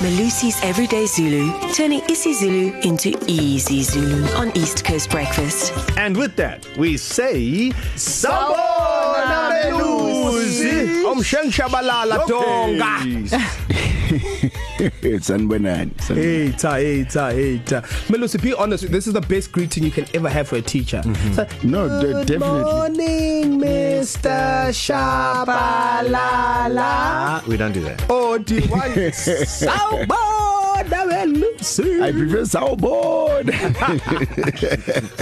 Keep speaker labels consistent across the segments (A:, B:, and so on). A: Malusi's Everyday Zulu, turning isiZulu into easy Zulu on East Coast Breakfast.
B: And with that, we say Sabona Melusi Omshenkshabalala
C: sanibonani sanibonani.
D: Hater, hater, hater. Melusi, be honest. This is the best greeting you can ever have for a teacher. Mm-hmm. So,
C: No, de-
D: Good
C: definitely.
D: morning, Mr. Shabalala.
B: We don't do that.
D: Oh, do you want sawubona
C: I
D: Melusi?
C: prefer sawubona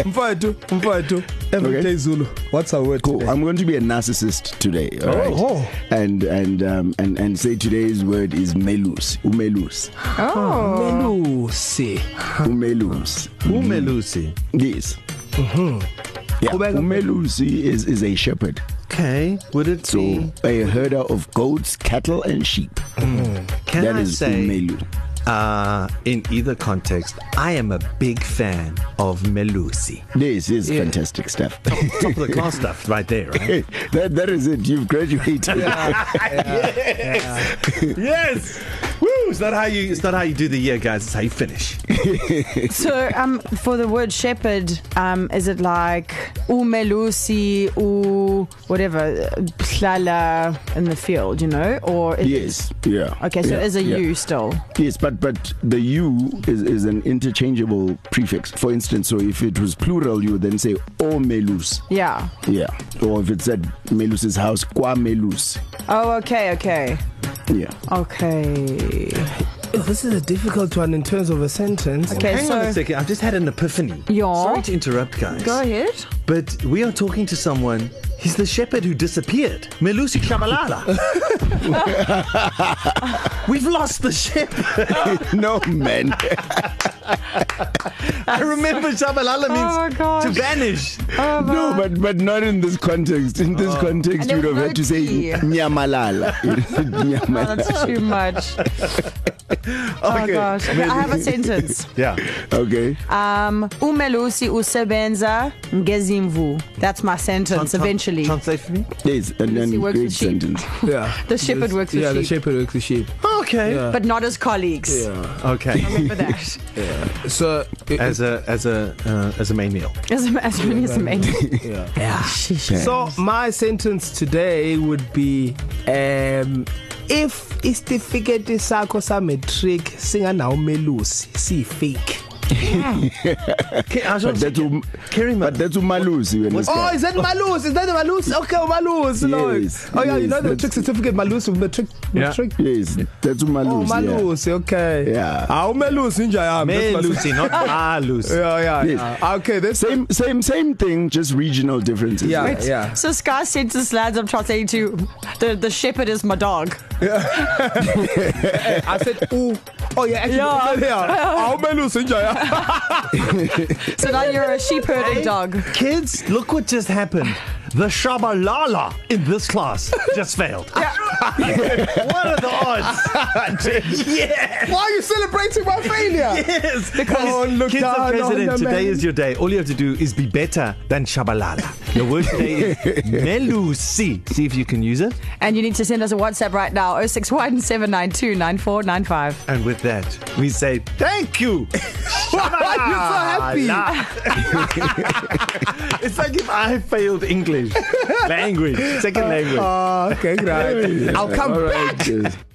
D: Mfowethu, mfowethu. Everyday okay.
C: Okay.
D: Zulu. What's our word?
C: cool
D: today?
C: I'm going to be a narcissist today all right
D: oh.
C: and and um and and say today's word is melus umelus
D: Melusi.
C: umelus
B: Who Melusi?
C: yes yeah
D: Qhubeka.
C: umelus is is a shepherd
B: Okay. Would it
C: so
B: be?
C: a herder of goats cattle and sheep
B: Can
C: that
B: I
C: is
B: say?
C: umelu
B: Uh, in either context, I am a big fan of Melusi.
C: this is
B: Yeah.
C: yeah. fantastic stuff
B: Top of the class stuff, right there. Right?
C: that that is it you've graduated yeah.
B: yes. Woo! It's not how you. It's not how you do the year, guys. It's how you finish.
E: So, um, for the word shepherd, um, is it like umelusi u whatever plala in the field, you know, or it,
C: yes yeah
E: Okay, so
C: yeah.
E: yeah, is a
C: yeah.
E: yeah. you still?
C: Yes, but but the you is, is an interchangeable prefix. For instance, so if it was plural, you would then say o melus.
E: Yeah.
C: Yeah. Or if it said Melus's house, qua melus.
E: Oh, okay, okay,
C: Yeah.
E: okay.
D: This is a difficult one in terms of a sentence.
E: Okay,
B: Hang
E: so
B: on a second. I've just had an epiphany.
E: Yeah.
B: Sorry to interrupt, guys.
E: go ahead.
B: But we are talking to someone. He's the shepherd who disappeared, Melusi Shabalala. We've lost the shepherd.
C: no man.
B: I remember Shabalala means
E: Oh, my gosh.
B: to vanish.
E: Oh,
C: no, but but not in this context. In this uh, context,
E: And
C: you'd
E: there
C: have
E: was
C: had to say
E: no T.
C: nyamalala. Nyamalala.
E: Oh, that's too much. Okay. Oh gosh, okay, I have a sentence.
B: Yeah.
C: Okay.
E: Um, umelusi usebenza ngezimvu. That's my sentence. Eventually,
B: Translate for me.
C: Yes, and then
E: Lucy works with
C: great
E: sheep.
C: sentence.
D: Yeah.
E: The shepherd works with
D: yeah, Yeah, the
E: sheep.
D: shepherd works with sheep.
B: Okay. Yeah.
E: but not as colleagues. Yeah.
B: Okay.
E: Remember that.
D: So it,
B: As a as a uh, as a main meal.
E: As a as many as a man.
D: Yeah.
E: yeah.
D: So my sentence today would be um if isitifiketi sakho sa matric singanawo melusi si fake.
B: Okay, I was
C: But that's um,
B: Carry
C: but that's umalusi when it's
D: Oh, is that Malus? Is that the Malus? Okay, Malus. No.
C: Yes,
D: oh yeah, you
C: yes,
D: know the
C: that's-
D: matric certificate Malus, matric
B: Yeah.
D: matric.
C: Yes, that's
D: Oh,
C: umalusi. yeah.
D: Malus. Okay.
C: Yeah.
D: Awumelusi nje ayami.
B: Melusi, not Malusi.
D: Yeah, yeah.
C: Yes.
D: yeah. Okay, that's
C: Same same same thing, just regional differences.
D: Yeah, yeah.
E: So Scar said to Slads, I'm translating to the, the shepherd is my dog.
D: I said ooh. Oh yeah, actually.
E: Yeah.
D: yeah. Awumelusi nje ayami.
E: So now you're a sheep herding dog.
B: Kids, look what just happened. The Shabalala in this class just failed. Yeah. what are the odds? yes.
D: Why are you celebrating my failure?
B: Yes.
D: Don't look
B: Kids
D: down
B: are
D: on
B: president.
D: the
B: Today
D: man.
B: is your day. All you have to do is be better than Shabalala. Your word today is Melusi. See if you can use it.
E: And you need to send us a WhatsApp right now 061 792 9495.
B: And with that, we say thank you. Why
D: are you so
B: happy? it's like if I failed English, language, second language.
D: Oh, okay, great. I'll come
C: All
D: back.
C: right. Yes.